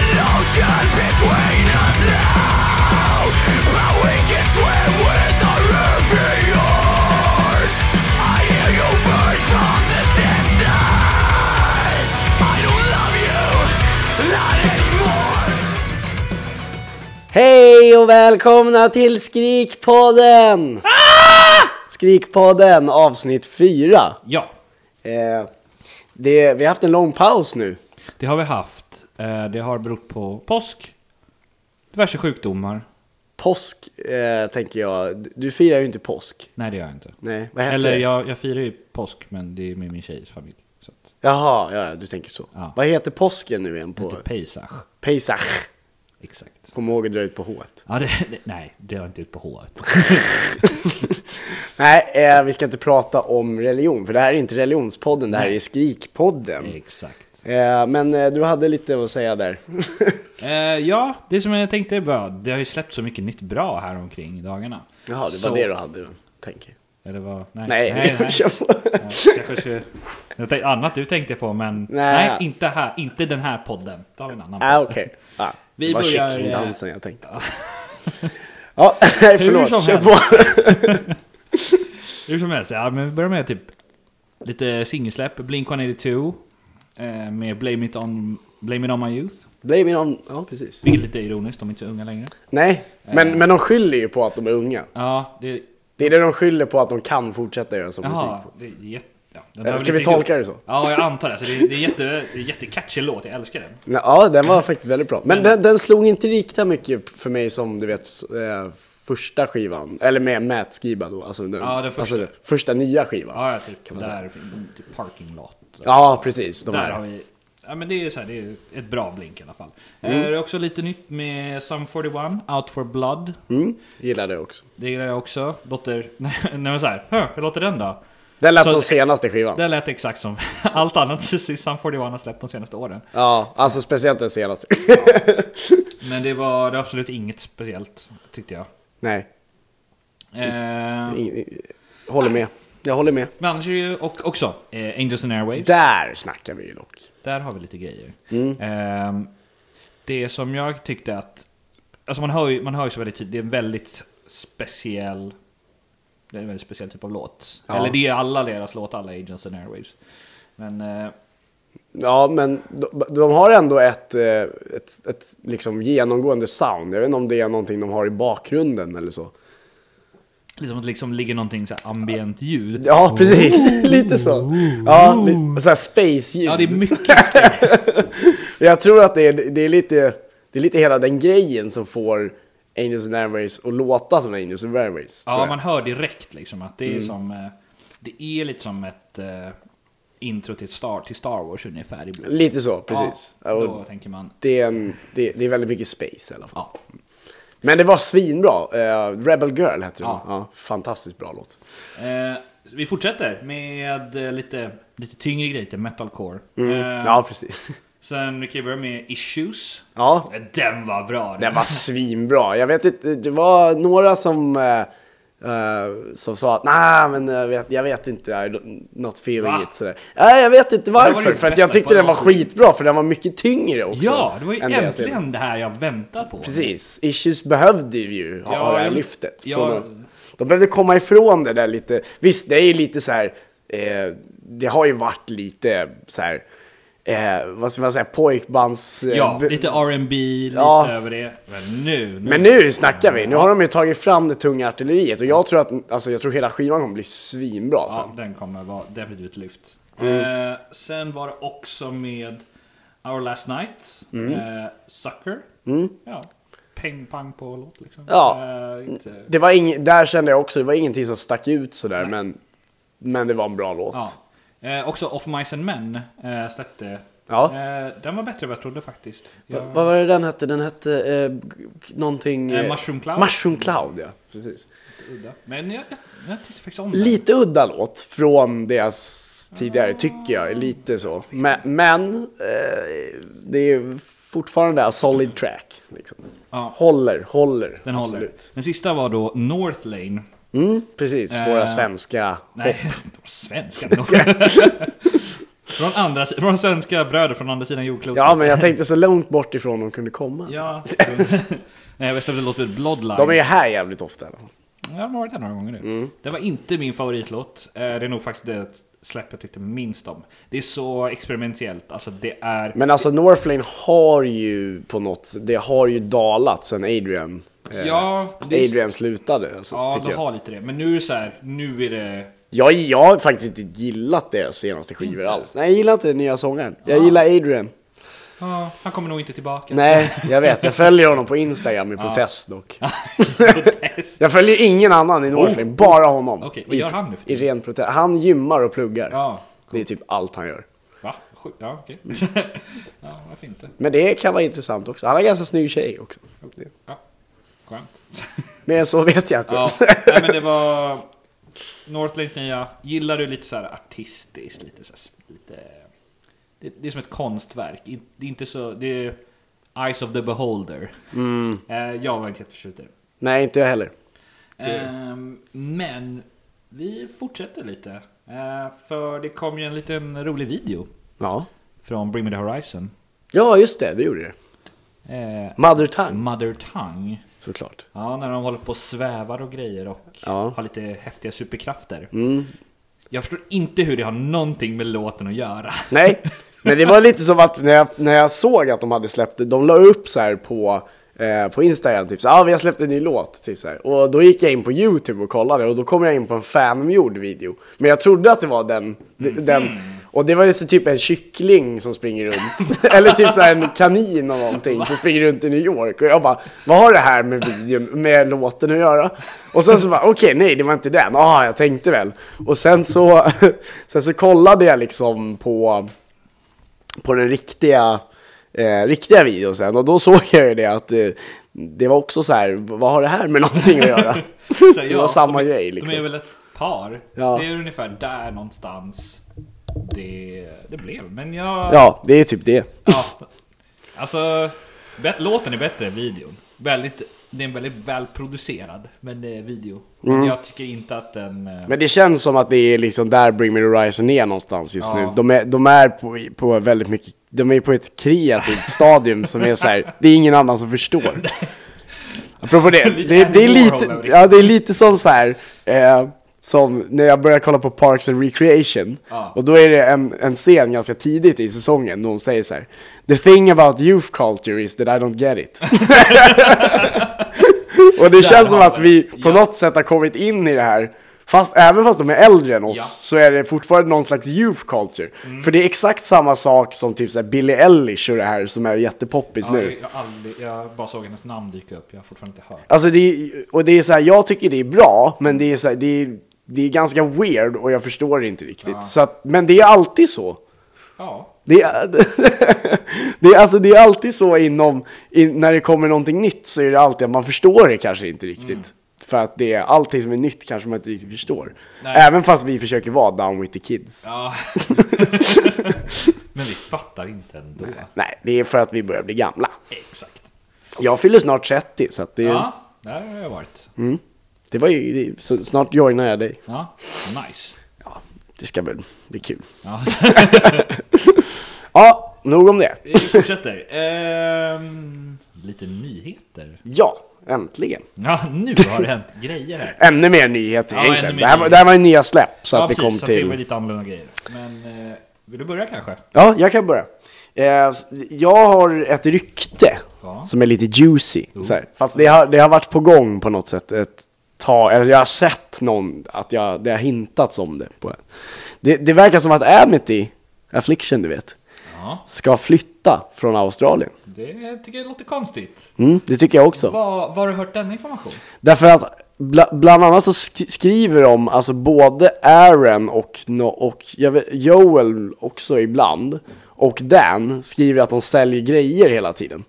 partition between us now But we can swim with the riviers I hear you burst from the distance I don't love you, not anymore Hej och välkomna till Skrikpodden! Ah! Skrikpodden avsnitt 4. Ja, Eh, det, vi har haft en lång paus nu. det har vi haft. Eh, Det har berott på påsk, diverse sjukdomar. Påsk eh, tänker jag. Du firar ju inte påsk. Nej, det gör jag inte. Nej, vad heter Eller det? jag, jag firar ju påsk, men det är med min tjejs familj. Så att, Jaha, ja, ja, du tänker så. Ja. Vad heter påsken nu igen det på heter Pesach. Pesach? Exakt. Kom ihåg att dra ut på H. Ja, det, det, nej, det har inte ut på håret. Nej, eh, vi ska inte prata om religion, för det här är inte religionspodden, det här är Skrikpodden. Exakt. Eh, men eh, du hade lite att säga där. Eh, ja, det som jag tänkte bara, det har ju släppt så mycket nytt bra här omkring i dagarna. Jaha, det var Så- det du hade, tänker Eller vad? Nej, Nej, nej, nej. kör på. Ja, jag kanske skulle- jag tänkte, annat du tänkte på, men Nej. nej. inte här, inte den här podden. Då har vi en annan. Ah, okej. Ah, Vi det var börjar, eh, kycklingdansen jag tänkte på. Ja, nej, förlåt. som Kör på. helst. Hur som helst, ja, men vi börjar med typ lite singelsläpp, Blink-182 eh, med Blame It, on, Blame It On My Youth. Blame it on... Ja, precis. Vilket är lite ironiskt, de är inte så unga längre. Nej, Eh. men, men de skyller ju på att de är unga. Ja, det... Det är det de skyller på att de kan fortsätta göra som Jaha, musik. det är jätte... Ja, den Eller där ska var vi lite- tolka det så? Ja, jag antar det. Så det är, det är jätte, det är jättecatchy låt, jag älskar den. Nej, Ja, den var faktiskt väldigt bra. Men den, den slog inte lika mycket för mig som du vet s- eh, första skivan. Eller med Matt Skiba då. Alltså den, Ja, den första. Alltså, den första nya skivan. Ja, Ja, jag tycker där, typ Parking Lot. precis. De Där här. har vi... Ja men det är, så här, det är ett bra blink i alla fall. Mm. Eh, det är också lite nytt med Sum 41, Out for Blood. Mm, gillade det också. Det gillar jag också. Låter... Nej men såhär, hur låter den då? Den lät Så- som senaste skivan. Det lät exakt som allt annat Sissan 41 har släppt de senaste åren. Ja, alltså speciellt den senaste. Men det var, det var absolut inget speciellt, tyckte jag. Nej, Eh, ing- ing- håller med. Jag håller med. men annars är det ju och, också eh, Angels and Airwaves. Där. Där Mm. snackar vi ju dock. har vi lite grejer. Eh, det som jag tyckte att... Alltså man hör ju, man hör ju så väldigt tydligt, det är en väldigt speciell... Det är en väldigt speciell typ av låt. Ja. Eller det är alla deras låtar, alla Agents and Airwaves. Men... Eh, Ja, men de, de har ändå ett, eh, ett, ett liksom genomgående sound. Jag vet inte om det är någonting de har i bakgrunden eller så. liksom att det liksom ligger någonting så här ambient ljud. Ja, precis. lite så. Ja, li- så här space-ljud. Ja, det är mycket Jag tror att det är, det, är lite, det är lite hela den grejen som får Angels and Airways att låta som Angels and Airways. tror Ja, jag. Mm. man hör direkt liksom att det är som... eh, Det är lite som ett eh, intro till Star, till Star Wars ungefär ibland. Lite så, precis. Ja, Ja, och då tänker man... det, är en, det, det är väldigt mycket space i alla fall. Ja. Men det var svinbra. Eh, Rebel Girl hette den. Ja. Ja. fantastiskt bra låt. Eh, vi fortsätter med eh, lite, lite tyngre grejer, lite metalcore. Eh, Mm. Ja, precis. Sen vi kan ju börja med Issues. Ja, Eh, Den var bra! den var svinbra. Jag vet inte, det var några som, eh, eh, som sa att nej, men jag vet, jag vet inte, I don't- not feeling Va? it sådär. Nej, jag vet inte Det varför, var det för att jag bästa tyckte den var på någonsin. skitbra, för den var mycket tyngre också. ja, det var ju än deras äntligen ledare. det här jag väntar på. Precis, Issues behövde ju ha Ja, det här jag- lyftet. ja. Från att, de behövde komma ifrån det där lite. Visst, det är ju lite så här. Eh, det har ju varit lite så här. Eh, vad ska man säga? Pojkbands... Eh, Ja, bu- lite R&B, lite Ja. över det. Men nu... nu. Men nu snackar vi! Nu har de ju tagit fram det tunga artilleriet och jag tror att alltså, jag tror hela skivan kommer bli svinbra sen. Ja, den kommer vara definitivt lyft. Mm. Eh, sen var det också med Our Last Night, Mm. eh, Sucker. Ja, peng pang på låt liksom. Ja. Mm. Eh, inte, Det var ing- där kände jag också, det var ingenting som stack ut sådär men, men det var en bra låt. ja. Eh, också Off Mice and Men eh, släppte. Ja. Eh, den var bättre än vad jag trodde faktiskt. Jag, Vad var det den hette? Den hette eh, g- någonting... Eh, Mushroom Cloud. Mushroom Cloud, ja. Precis. udda. Men jag, jag, jag tyckte faktiskt om den. Lite udda låt från deras tidigare, tycker jag. Lite så. Men, men eh, det är fortfarande en solid track. Liksom. Ja. Håller, håller. Den håller. absolut. Den sista var då North Lane. Mm, precis, våra Eh, svenska Nej, de var svenska. Från, andra, si- från svenska bröder från andra sidan jordklotet. Ja, men jag tänkte så långt bort ifrån de kunde komma. Ja. Nej, Västra Blod låt väl Bloodline. De är Mm. ju här jävligt ofta. i alla fall. Jag har varit där några gånger nu. Det var inte min favoritlåt. Eh, Det är nog faktiskt det släpp jag tyckte minst om. Det är så experimentellt. Alltså det är... Men alltså Northlane har ju på något det har ju dalat sen Adrian, eh, ja, det är, Adrian slutade. Alltså, ja, tycker det jag. har lite det. Men nu är det så här, nu är det... Jag, jag har faktiskt inte gillat deras senaste skivor alls. Nej, jag gillar inte den nya sångaren. Ah. Jag gillar Adrian. Ja, han kommer nog inte tillbaka. Nej, jag vet. Jag följer honom på Instagram i Ah. protest dock. Protest. Jag följer ingen annan i Northlane, bara honom. Oh, Okej, vad gör han nu för Ah, I ren protest. Han gymmar och pluggar. Ja, Det är typ allt han gör. va? Sjukt. Ja, okej. ja, varför inte? Men det kan vara intressant också. Han är en ganska snygg tjej också. Det- Ja, skönt. Mer än så vet jag inte. ja, nej, men det var Northlands nya. Gillar du lite så här artistiskt, lite så här, lite... Det, det är som ett konstverk. In- Det är inte så... Det är Eyes of the Beholder. Eh, jag var inte jätteförtjust i det. Nej, inte jag heller. Ehm, men vi fortsätter lite. Eh, för det kom ju en liten rolig video Ja. från Bring Me The Horizon. Ja, just det. Det gjorde det. Eh, Mother Tongue, Mother Tongue. såklart. Ja, när de håller på och svävar och grejer och Ja. har lite häftiga superkrafter. Mm. Jag förstår inte hur det har någonting med låten att göra. Nej, men det var lite som att när jag, när jag såg att de hade släppt det, de la upp så här på, eh, på Instagram, typ så här, ah, vi har släppt en ny låt, typ så här. Och då gick jag in på YouTube och kollade och då kom jag in på en fangjord video. Men jag trodde att det var den, den och det var ju så typ en kyckling som springer runt, eller typ så här en kanin eller någonting som springer runt i New York. Och jag bara, vad har det här med videon, med låten att göra? Och sen så bara, okej, nej, det var inte den. Ah, jag tänkte väl. Och sen så, sen så kollade jag liksom på, på den riktiga, eh, riktiga videon sen och då såg jag ju det att eh, det var också så här, vad har det här med någonting att göra? Så här, det var samma grej De är liksom. väl ett par. Ja. Det är ungefär där någonstans det, det blev. Men jag... Ja, det är typ det. ja. Alltså, bet- låten är bättre än videon. Väldigt, det är en väldigt välproducerad men det är video. Men jag tycker inte att den... eh, Mm. Men det känns som att det är liksom där Bring Me The Horizon är någonstans just Ja. nu. De är, de är på, på väldigt mycket, de är på ett kreativt stadium som är så här, det är ingen annan som förstår. Apropå det, Lite det, det, är Andy lite, Warhol över det. ja, det är lite som så här, eh, som när jag började kolla på Parks and Recreation. Ja. Och då är det en, en scen ganska tidigt i säsongen då hon säger så här, The thing about youth culture is that I don't get it. Och det känns som har att vi. vi på Ja. något sätt har kommit in i det här. Fast även fast de är äldre än oss Ja. Mm. så är det fortfarande någon slags youth culture. För det är exakt samma sak som typ såhär Billie Eilish och det här som är jättepoppis Ja, jag, nu. jag, har aldrig, jag bara såg hennes namn dyka upp, jag har fortfarande inte hört. Alltså det är, och det är såhär, jag tycker det är bra, men det är såhär, det är, det är ganska weird och jag förstår det inte riktigt. Ja. Så att, men det är alltid så. Ja, Det är, det, är, alltså, det är alltid så inom, i, när det kommer någonting nytt så är det alltid att man förstår det kanske inte riktigt. Mm. För att det är allting som är nytt kanske man inte riktigt förstår. Nej. Även fast vi försöker vara down with the kids. ja. men vi fattar inte ändå. Nej, det är för att vi börjar bli gamla. Exakt. Jag fyller snart 30 så att det, Mm. Ja, där har jag varit. det var ju, det, så snart joinar jag dig. Ja, nice. Ja, det ska väl bli kul. Ja, Ja, nog om det. vi fortsätter. Ehm, lite nyheter. Ja, äntligen. Ja, nu har det hänt grejer här. Ännu mer nyheter Ja, egentligen. ännu mer det, här, var- nyheter. det här var ju nya släpp så ja, att vi precis. kom så att det till... var lite annorlunda grejer. Men eh, vill du börja kanske? Ja, jag kan börja. Eh, jag har ett rykte Ja. som är lite juicy. Så här. Fast det har, det har varit på gång på något sätt ett tag. Eller jag har sett någon, att jag, det har hintats om det. På. Det, det verkar som att Amity, Affliction du vet, Ja, ska flytta från Australien. det tycker jag låter konstigt. Mm, det tycker jag också. Var, var har du hört denna information? Därför att bla, bland annat så sk- skriver de, alltså både Aaron och, no, och jag vet, Joel också ibland, och Dan skriver att de säljer grejer hela tiden.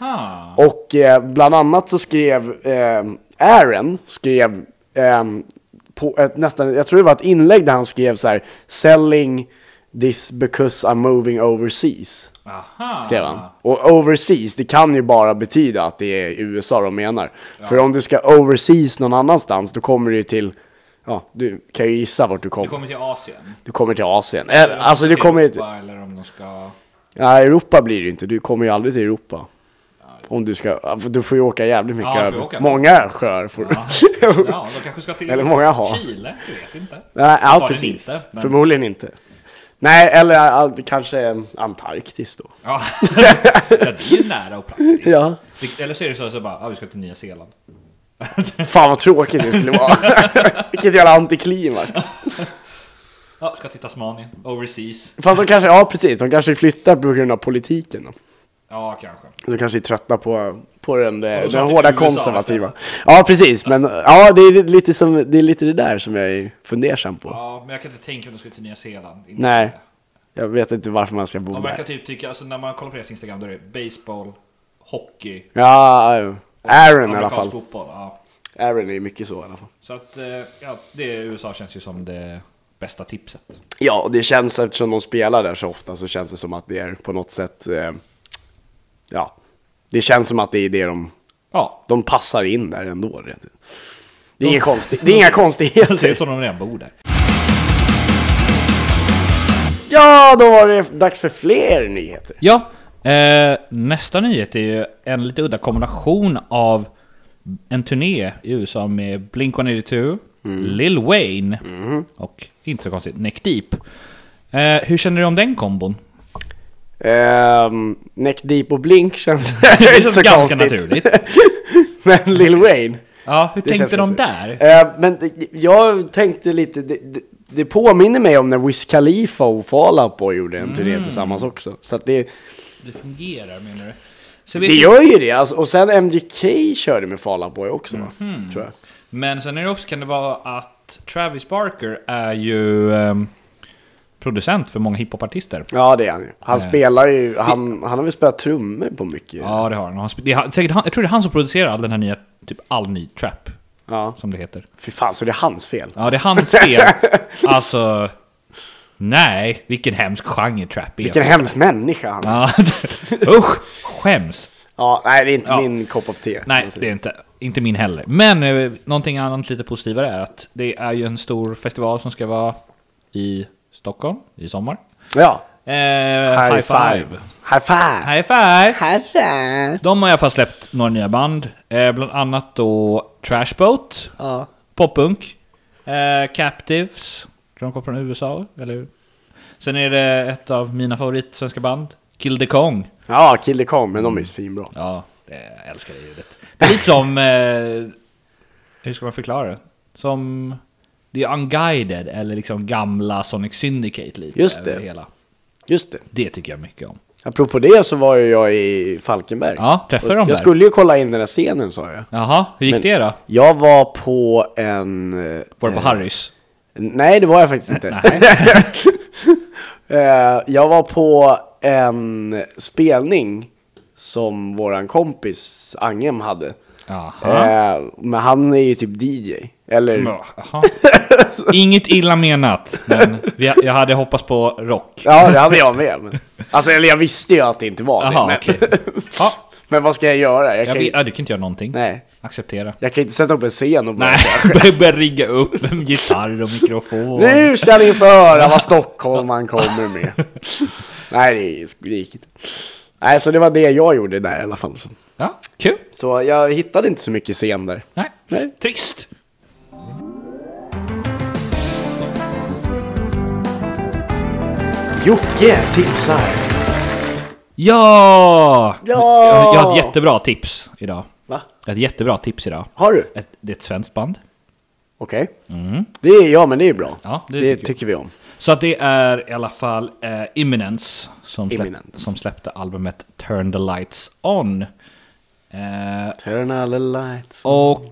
Aha. Och eh, bland annat så skrev eh, Aaron, skrev eh, på ett, nästan, jag tror det var ett inlägg där han skrev så här, selling this because I'm moving overseas. Aha. Skrev han. Och overseas, det kan ju bara betyda att det är USA de menar. För om du ska overseas någon annanstans, då kommer du ju till ja, du kan ju gissa vart du Du kommer. kommer till Asien. Du kommer till Asien. Eller, alltså du Till kommer Europa, inte... Eller om de ska... Nej, Europa blir det ju inte. Du kommer ju aldrig till Europa. Om du ska... ja, för Du får ju åka jävligt mycket Ja, jag får över. åka. Många sjöar får du. Ja. ja, de kanske ska till Eller många har. Chile. Du vet inte. Nej, ja, den precis. inte, men- Förmodligen inte. Nej, eller ja, kanske eh, Antarktis då. Ja. ja, det är ju nära och praktiskt. Ja. Det- Eller så är det så, så bara, ah, vi ska till Nya Zeeland. Fan vad tråkigt det skulle vara. Vilket jävla antiklimax. Ja, ska till Tasmanien, overseas. Fast de kanske, ja precis, de kanske flyttar på grund av politiken då. Ja, kanske. De kanske är trötta på, på den, eh, Och så den till hårda USA konservativa. Ja precis, men ja det är lite, som, det är lite det där som jag är fundersam på. Ja, men jag kan inte tänka mig att de skulle till Nya Zeeland. Inte. Nej, jag vet inte varför man ska bo De där. verkar typ tycka, alltså när man kollar på deras Instagram, då är det baseball, hockey, Ja, ja. Aaron i alla amerikansk fall. fotboll. Ja. Aaron är mycket så i alla fall. Så att, eh, ja, det USA känns ju som det bästa tipset. Ja, och det känns eftersom de spelar där så ofta så känns det som att det är på något sätt, eh, ja, det känns som att det är det de, Ja, de passar in där ändå. vet du. Det är, inga, konsti- det är inga det ser ut konstigheter. som de redan bor där. Ja, då var det dags för fler nyheter. Ja, eh, nästa nyhet är ju en lite udda kombination av en turné i USA med Blink-182, Mm. Lil Wayne och, inte så konstigt, Neck Deep. Eh, hur känner du om den kombon? Ehm, Neck Deep och Blink känns Det inte så ganska konstigt. naturligt. Men Lil Wayne. Ja, hur det känns tänkte de konstigt. där? Eh, men det- jag tänkte lite, det, det, det påminner mig om när Wiz Khalifa och Fall Out Boy gjorde en Mm. turné tillsammans också. Så att det, Det fungerar menar du? Så Det vet jag... gör ju det, alltså, och sen MGK körde med Fall Out Boy också va? Mhm. Tror jag. Men sen är det också, kan det vara att Travis Barker är ju ehm, producent för många hiphopartister. Ja det är han ju. Han spelar ju, han, han har väl spelat trummor på mycket. Ja. Eh. Ja, det har han. han. sp- Det är, han- säkert han jag tror det är han som producerar all den här nya, typ all ny trap. Som det heter. Fy fan, så det är hans fel? Ja, det är hans fel. alltså, nej, vilken hemsk genre trap är. Vilken hemsk människa han är. Ja, usch, skäms. Ja, nej det är inte Ja. min kopp av te. Nej, det är inte, inte min heller. Men eh, någonting annat lite positivare är att det är ju en stor festival som ska vara i Stockholm i sommar. Ja. Eh, high, five. High five! High five! High five! De har i alla fall släppt några nya band. Eh, bland annat då Trashboat, Ja. Popunk, eh, Captives, tror de kommer från USA, eller hur? Sen är det ett av mina favoritsvenska band, Kill the Kong. Ja, Kill the Kong, men de är ju svinbra. Ja, det, jag älskar det ljudet. Det är lite som, eh, hur ska man förklara det? Som The Unguided, eller liksom gamla Sonic Syndicate lite. Just över det. Hela. Just det. Det tycker jag mycket om. Apropå det så var ju jag i Falkenberg. Ja, träffade Och de Jag där? skulle ju kolla in den här scenen sa jag. Jaha, hur gick Men- det då? Jag var på en... eh, Var det på Harrys? Nej, det var jag faktiskt inte. Eh, jag var på en spelning som våran kompis Angem hade. Jaha. Eh, men han är ju typ DJ. Eller? Ja, aha. Inget illa menat, men vi, jag hade hoppats på rock. Ja, det hade jag med. Men. Alltså, eller jag visste ju att det inte var det. Jaha, Men, okej. Ja, men vad ska jag göra? Jag jag kan, vet, ju, ja, du kan inte göra någonting. nej, Acceptera. jag kan ju inte sätta upp en scen och bara Nej, börja- börja rigga upp en gitarr och mikrofon. Nu ska ni få höra vad stockholmaren kommer med. nej, det är skrikigt. Nej, så det var det jag gjorde där i alla fall. Ja, kul. Så jag hittade inte så mycket scen där. Nej, Nej. trist. Jocke tipsar! Ja! Ja! Jag har ett jättebra tips idag. Va? Ett jättebra tips idag. Har du? Ett, det är ett svenskt band. Okej. Det är, ja, men det är bra. Ja, det det tycker, tycker vi om. Så att det är i alla fall eh, Imminence, som, släpp, Imminence. som släppte albumet Turn the Lights On. Eh, Turn all the lights. Och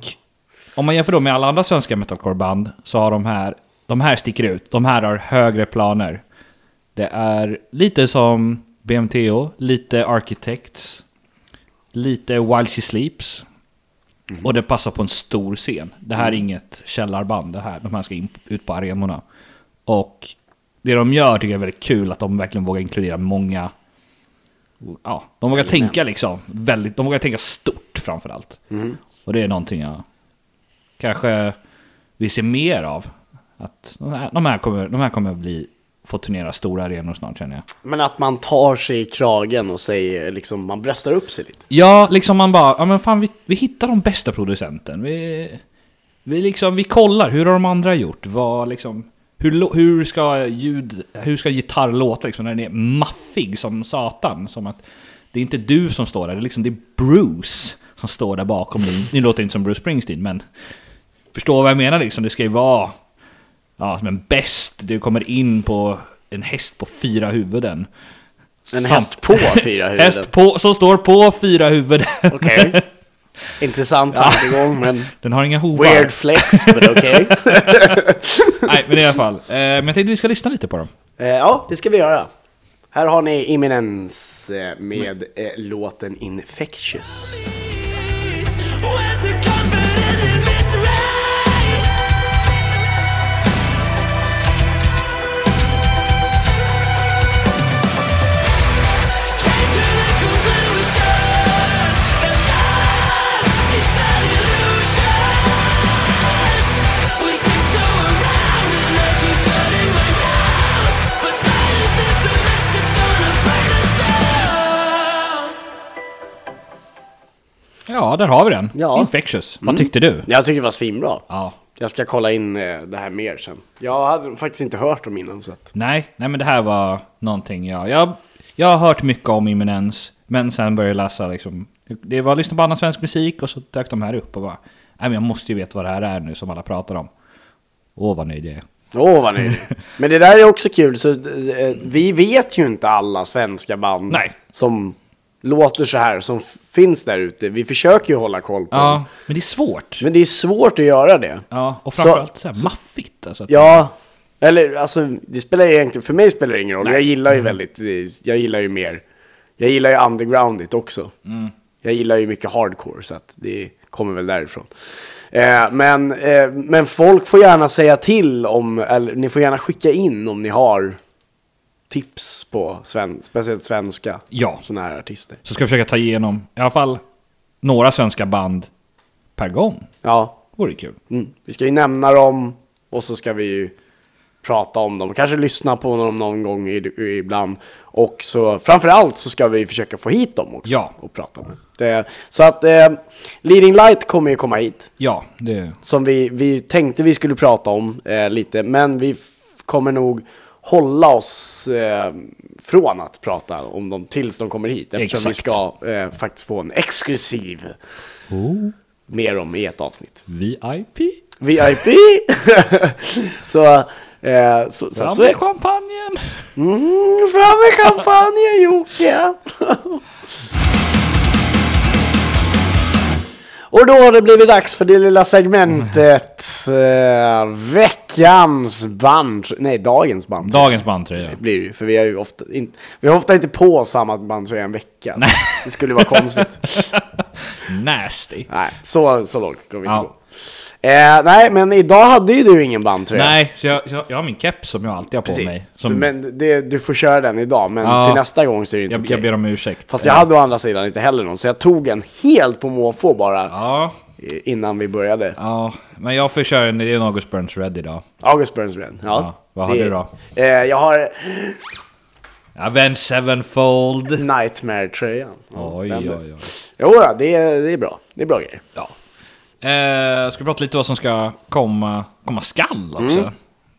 om man jämför då med alla andra svenska metalcoreband så har de här, de här sticker ut. De här har högre planer. Det är lite som BMTO, lite Architects, lite While She Sleeps. Och det passar på en stor scen. Det här är inget källarband, det här, de här ska in, ut på arenorna. Och det de gör tycker jag är väldigt kul, att de verkligen vågar inkludera många ja, de vågar tänka liksom väldigt, de vågar tänka stort framförallt. Och det är någonting jag kanske vi ser mer av. Att de här, de här kommer, de här kommer bli, få turnera stora arenor snart känner jag. Men att man tar sig i kragen och säger liksom, man bröstar upp sig lite. Ja, liksom man bara, ja men fan vi, vi hittar de bästa producenten. Vi, vi liksom, vi kollar, hur har de andra gjort? Vad liksom, hur, lå- hur ska ljud, hur ska gitarr låta liksom när den är maffig som satan? Som att det är inte du som står där, det är liksom det är Bruce som står där bakom dig. Nu låter det inte som Bruce Springsteen men Förstår vad jag menar liksom, det ska ju vara Ja, som en bäst, du kommer in på en häst på fyra huvuden En häst på fyra huvuden. Häst på, som står på fyra huvuden Okej. Intressant tankegång men Den har inga hovar. weird flex, men okej. Nej, men i alla fall. Eh, men jag tänkte vi ska lyssna lite på dem. Eh, ja, det ska vi göra. Här har ni Imminence eh, med Mm. eh, låten Infectious. Where's the confidence in this right? Came to the conclusion that love is an illusion. We tiptoe around and I keep shutting my mouth, but silence is the match that's gonna burn us down. Ja, där har vi den. Ja. Mm. Infectious. Vad tyckte du? Jag tycker det var svinbra. Mm. Ja. Jag ska kolla in eh, det här mer sen. Jag hade faktiskt inte hört dem innan så att... Nej, nej men det här var någonting jag... Jag, jag har hört mycket om Imminens, men sen började jag läsa liksom... Det var att lyssna på annan svensk musik och så dök de här upp och bara... Nej men jag måste ju veta vad det här är nu som alla pratar om. Åh vad nöjd jag är. Åh vad nöjd. Men det där är också kul, så eh, vi vet ju inte alla svenska band Nej. som låter så här, som f- finns där ute. Vi försöker ju hålla koll på Ja, dem. men det är svårt. Men det är svårt att göra det. Ja, och framförallt så här maffigt alltså. att- Ja, eller alltså det spelar ju egentligen, för mig spelar det ingen roll. Jag gillar ju väldigt, eh, jag gillar ju mer, jag gillar ju undergroundigt också. Jag gillar ju mycket hardcore så att det kommer väl därifrån. Eh, men, eh, men folk får gärna säga till om, eller ni får gärna skicka in om ni har tips på sven, speciellt svenska Ja. sådana här artister. Så ska jag försöka ta igenom i alla fall några svenska band per gång. Ja, Vore kul. Mm. Vi ska ju nämna dem och så ska vi ju prata om dem. Kanske lyssna på dem någon gång i- ibland. Och så framförallt så ska vi försöka få hit dem också. Ja. Och prata med. Det, så att eh, Leading Light kommer ju komma hit. Ja, det... Som vi, vi tänkte vi skulle prata om eh, lite. Men vi f- kommer nog hålla oss eh, från att prata om dem tills de kommer hit. Eftersom Exakt. vi ska eh, faktiskt få en exklusiv Oh. mer om i ett avsnitt. VIP? VIP! så, eh, så, så, Fram så är med det. champagnen! Mm, fram med champagnen Jocke! Och då har det blivit dags för det lilla segmentet eh, Veckans band, nej dagens band Dagens bandtröja. blir det ju, för vi har ju ofta, in, vi har ofta inte på samma bandtröja en vecka. Det skulle vara konstigt. Nasty. Nej, så, så långt går vi inte Ja. gå. Eh, nej, men idag hade ju du ingen bandtröja. Nej, så jag, jag, jag har min keps som jag alltid har på Precis. mig. så, Som, men det, du får köra den idag, men Ja. till nästa gång så är det inte jag, okej. jag ber om ursäkt. Fast jag hade å andra sidan inte heller någon, så jag tog en helt på måfå bara Ja, i- innan vi började. ja, men jag får köra en det är en August Burns Red idag. August Burns Red. Ja. Ja, vad har Det- du då? Eh, jag har Avenged Mm. Sevenfold. Nightmare-tröjan. Ja, Oj, den- oj, oj. Jo, då, det, är- det är bra. Det är bra grejer. Ja. Eh, ska vi prata lite vad som ska komma, komma skall också? Mm.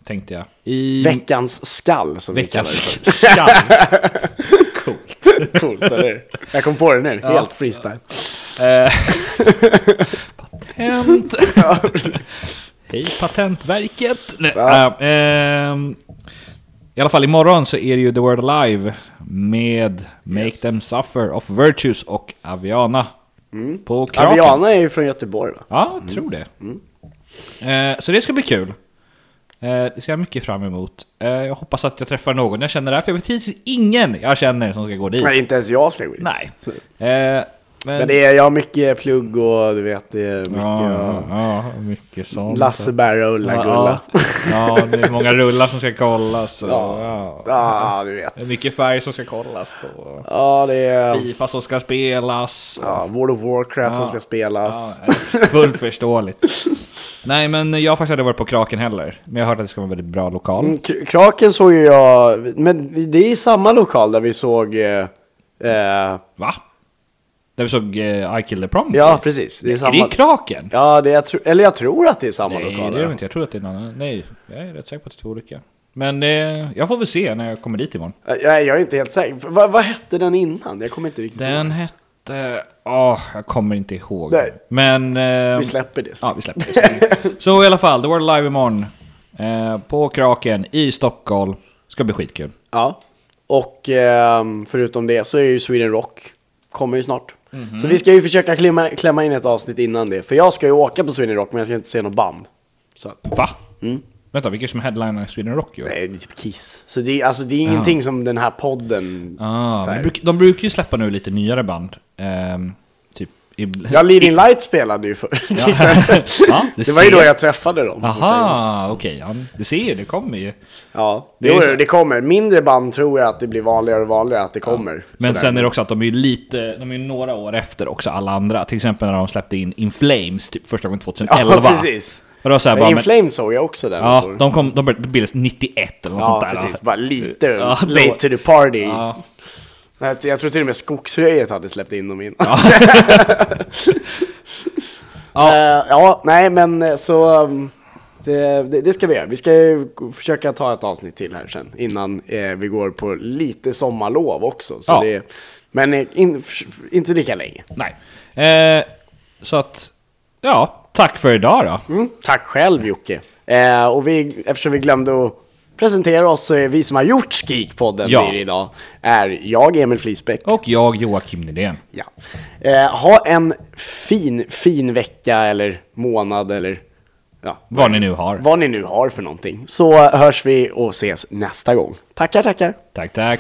Tänkte jag. I Veckans skall, som veckans vi kallar skall. Coolt. det för. Coolt, eller hur? Jag kom på det nu, helt freestyle. Eh, Patent. Hej Patentverket. Nej, Ja. eh, ehm, I alla fall imorgon så är det ju The World Alive med Make Them Suffer of Virtues och Aviana. På Mm. Kraken. Aviana Mm. är ju från Göteborg, va? Ja, jag tror det. Mm. Eh, så det ska bli kul. Eh, det ser jag mycket fram emot. Eh, jag hoppas att jag träffar någon jag känner där, för jag vet hittills ingen jag känner som ska gå dit. Nej, inte ens jag ska gå dit. Nej. Eh, Men det är, jag har mycket plugg och du vet, det är mycket ja, ja. ja, mycket sånt. Lasse Berra och Ulla Gulla. Ja, ja, det är många rullar som ska kollas. Och, Ja. ja. Ja, du vet. Det är mycket färg som ska kollas på. Ja, det är... Fifa som ska spelas. Ja, World of Warcraft som Ja. ska Ja, spelas. fullt förståeligt. Nej, men jag har faktiskt aldrig varit på Kraken heller. Men jag har hört att det ska vara en väldigt bra lokal. Mm, Kr- Kraken såg ju jag, men det är i samma lokal där vi såg... Eh, eh, Va? Där vi såg eh, I Killed the Prom ja, precis. Det är Är det samma... i Kraken? Ja, det är, jag tro- eller jag tror att det är samma Nej, lokal. det är ja. det inte. Jag tror att det är någon annan. Nej, jag är rätt säker på att det är två olika. Men eh, jag får väl se när jag kommer dit imorgon. Eh, Nej, jag är inte helt säker. Va, vad hette den innan? Jag kommer inte riktigt ihåg. Den hette... Åh, jag kommer inte ihåg. Nej. Men... Eh, Vi släpper det. Ja, vi släpper det. Så i alla fall, då var det live imorgon. Eh, på Kraken i Stockholm. Ska bli skitkul. Ja. Och ehm, förutom det så är ju Sweden Rock, kommer ju snart. Mhm. Så vi ska ju försöka klämma, klämma in ett avsnitt innan det. För jag ska ju åka på Sweden Rock men jag ska inte se något band. Så att, Va? Vänta, vilka som headlinar Sweden Rock? Ju? Mm. nej, det är typ Kiss. Så det är, alltså, det är ingenting som den här podden... Ah, så men här. de, bruk, de brukar ju släppa nu lite nyare band. Ehm, typ... Ib- Ja, Leading Light spelade ju förr. till exempel. Ja, det, det var ju ser- då jag träffade dem. Aha, okej. ja, du ser, det kommer ju. Ja, Det är jo, ju så- det kommer. Mindre band tror jag att det blir vanligare och vanligare att det kommer. Men Sådär. sen är det också att de är ju lite, de är ju några år efter också alla andra. Till exempel när de släppte in In Flames typ första gången 2011. Ja, precis. Och då så här bara, Men In men, Flames såg jag också där. ja, de, kom, de började- de bildades 91 eller något sånt ja där. precis. Bara lite Ja, då- late to the party. Ja. Nej, Jag tror till och med Skogsröjet hade släppt in dem innan. Ja. Eh, ja, nej men eh, så um, det, det, det ska vi göra. Vi ska ju g- försöka ta ett avsnitt till här sen innan eh, vi går på lite sommarlov också. Så Ja. det, men eh, in, f- f- inte lika länge. Nej. Eh, så att, ja, tack för idag då. Mm, tack själv Jocke. Eh, och vi, eftersom vi glömde att presentera oss så är vi som har gjort Skikpodden Ja. blir det idag är jag, Emil Flisbäck. Och jag, Joakim Nydén. Ja. Eh, ha en fin, fin vecka eller månad eller ja, Vad ni nu har. vad ni nu har för någonting. Så hörs vi och ses nästa gång. Tackar, tackar. Tack, tack.